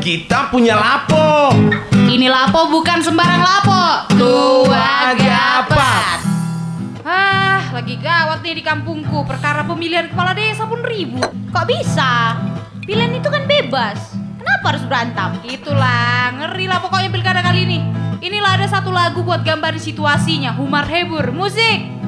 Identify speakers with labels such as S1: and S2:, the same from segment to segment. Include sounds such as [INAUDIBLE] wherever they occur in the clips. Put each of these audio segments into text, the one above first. S1: kita punya lapo.
S2: Ini lapo bukan sembarang lapo. Tua
S1: gapat.
S2: Ah, lagi gawat nih di kampungku. Perkara pemilihan kepala desa pun ribut.
S3: Kok bisa? Pilihan itu kan bebas. Kenapa harus berantem?
S2: Itulah, ngeri lah pokoknya pilkada kali ini. Inilah ada satu lagu buat gambarin situasinya. Humar Hebur, musik.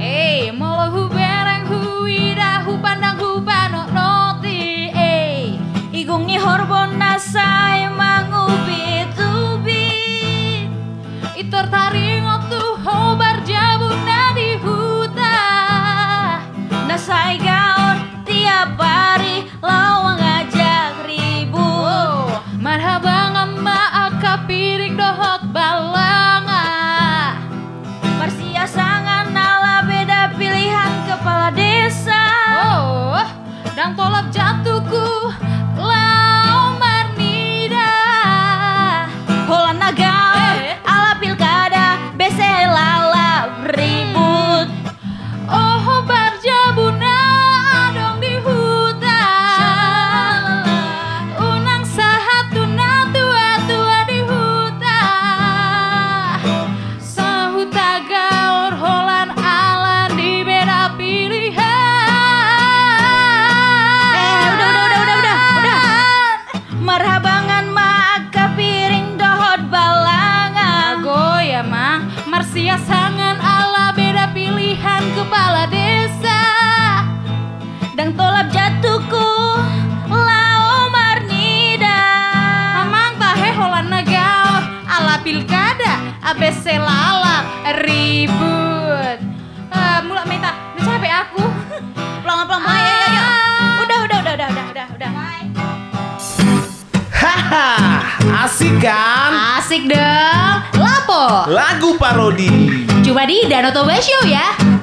S2: Eh, molo hu berang hu ida hu pandang hu pano noti. Eh,
S3: Igungi horbon nasai mangubit ubit
S2: itor taring waktu hobar jabu nadi huta.
S3: Nasai gaor tiap hari lawang ngajak ribut
S2: Oh, marhaba ngama akapirik dohok balanga.
S3: Marsia sangan nala beda pilihan kepala desa
S2: Oh, dan tolap jatuhku Lau marnida
S3: Hola nagaor
S2: Eh.
S3: ala pilkada bese lala ribut
S2: Oh, barjabuna adong di hutan Unang sahatuna tua-tua di hutan Sahuta gaur holan alan di beda pilihan
S3: Eh, udah, udah, udah, udah, udah, Marhabangan maka piring dohot balangan
S2: Aku ya mah Marsia sangan ala beda pilihan kepala desa
S3: Dang tolap jatuhku Lao Marnida
S2: Amang tahe holan negaor ala pilkada ABC lala ribut Eh, Mula minta, udah capek aku [LAUGHS]
S3: Pelan pelan pelan ayo, ayo, ayo. Udah udah udah udah udah udah udah
S1: Haha, asik kan?
S2: Asik dong, lapo
S1: Lagu parodi.
S2: Cuma di Danau Toba Show ya